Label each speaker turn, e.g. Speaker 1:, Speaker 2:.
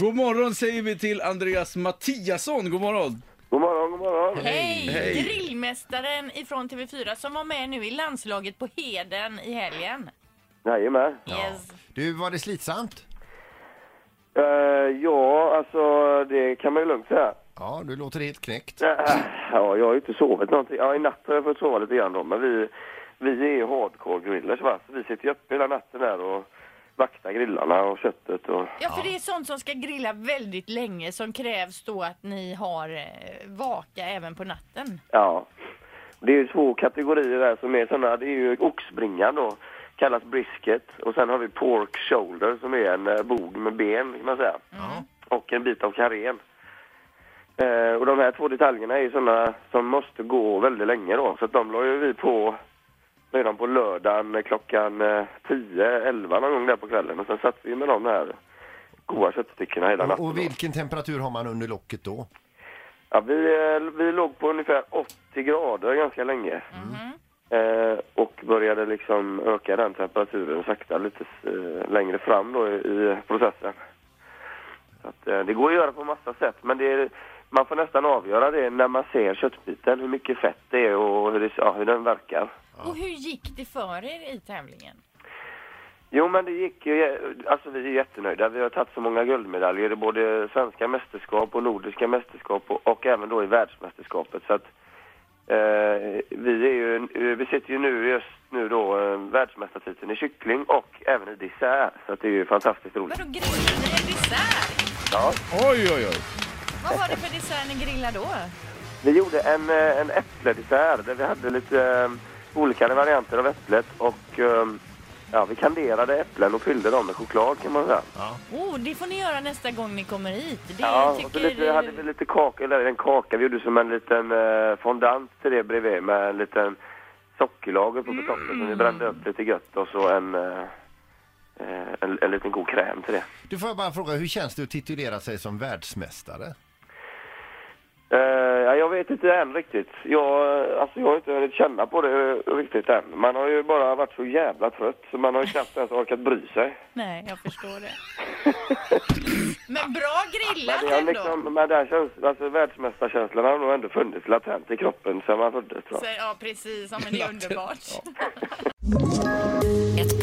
Speaker 1: God morgon säger vi till Andreas Mattiasson. God morgon!
Speaker 2: God morgon, god morgon.
Speaker 3: Hej!
Speaker 1: Hej.
Speaker 3: Grillmästaren ifrån TV4 som var med nu i landslaget på Heden i helgen.
Speaker 2: Jajamän.
Speaker 3: Yes.
Speaker 4: Du, var det slitsamt?
Speaker 2: Eh, ja, alltså det kan man ju lugnt säga.
Speaker 4: Ja, du låter helt knäckt.
Speaker 2: Eh, ja, jag har ju inte sovit någonting. Ja, i natt har jag fått sova lite grann då, men vi, vi är ju hardcore grillers va. Så vi sitter ju uppe hela natten där och vaktar grillarna och köttet och...
Speaker 3: Ja, för det är sånt som ska grilla väldigt länge som krävs då att ni har eh, vaka även på natten.
Speaker 2: Ja. Det är ju två kategorier där som är sådana. Det är ju oxbringan då, kallas brisket. Och sen har vi pork shoulder som är en eh, bog med ben kan man säga.
Speaker 4: Ja.
Speaker 2: Och en bit av karrén. Eh, och de här två detaljerna är ju sådana som måste gå väldigt länge då. Så att de la ju vi på redan på lördagen eh, klockan eh, 10, 11 någon gång där på kvällen. Och sen satt vi med de här goda köttstyckena hela natten.
Speaker 4: Och
Speaker 2: då.
Speaker 4: vilken temperatur har man under locket då?
Speaker 2: Ja, vi, eh, vi låg på ungefär 80 grader ganska länge. Eh, och började liksom öka den temperaturen sakta lite eh, längre fram då i, i processen. Så att, eh, det går att göra på massa sätt, men det är, man får nästan avgöra det när man ser köttbiten, hur mycket fett det är och hur, det, ja, hur den verkar.
Speaker 3: Och hur gick det för er i tävlingen?
Speaker 2: Jo, men det gick ju... Alltså, vi är jättenöjda. Vi har tagit så många guldmedaljer i både svenska mästerskap och nordiska mästerskap och, och även då i världsmästerskapet. Så att, eh, vi, är ju, eh, vi sitter ju nu just nu då eh, världsmästartiteln i kyckling och även i dessert. Så att det är ju fantastiskt roligt.
Speaker 3: Vadå grillade ni en dessert?
Speaker 2: Ja.
Speaker 1: Oj, oj, oj!
Speaker 3: Vad var det för dessert ni grillade då?
Speaker 2: Vi gjorde en, eh, en äppledessert där vi hade lite eh, olika varianter av äpplet och eh, ja, vi kanderade äpplen och fyllde dem med choklad kan man säga.
Speaker 3: Oh, det får ni göra nästa gång ni kommer hit. Det
Speaker 2: Ja, och så
Speaker 3: tycker...
Speaker 2: lite, hade vi lite kaka, eller en kaka, vi gjorde som en liten eh, fondant till det bredvid med en liten sockerlager på toppen som vi brände upp lite gött och så en, eh, eh, en, en liten god kräm till det.
Speaker 4: Du får jag bara fråga, hur känns det att titulera sig som världsmästare?
Speaker 2: Eh, ja, jag vet inte än riktigt. Jag, eh, alltså, jag har inte hunnit känna på det eh, riktigt än. Man har ju bara varit så jävla trött så man har ju knappt ens orkat bry sig.
Speaker 3: Nej, jag förstår det. Men bra
Speaker 2: Men,
Speaker 3: grillat
Speaker 2: det har
Speaker 3: ändå.
Speaker 2: liksom, men där känns, alltså, världsmästarkänslan har nog ändå funnits latent i kroppen sedan man föddes tror jag.
Speaker 3: Så- Ja, precis. Ja, men det är underbart.
Speaker 5: Ett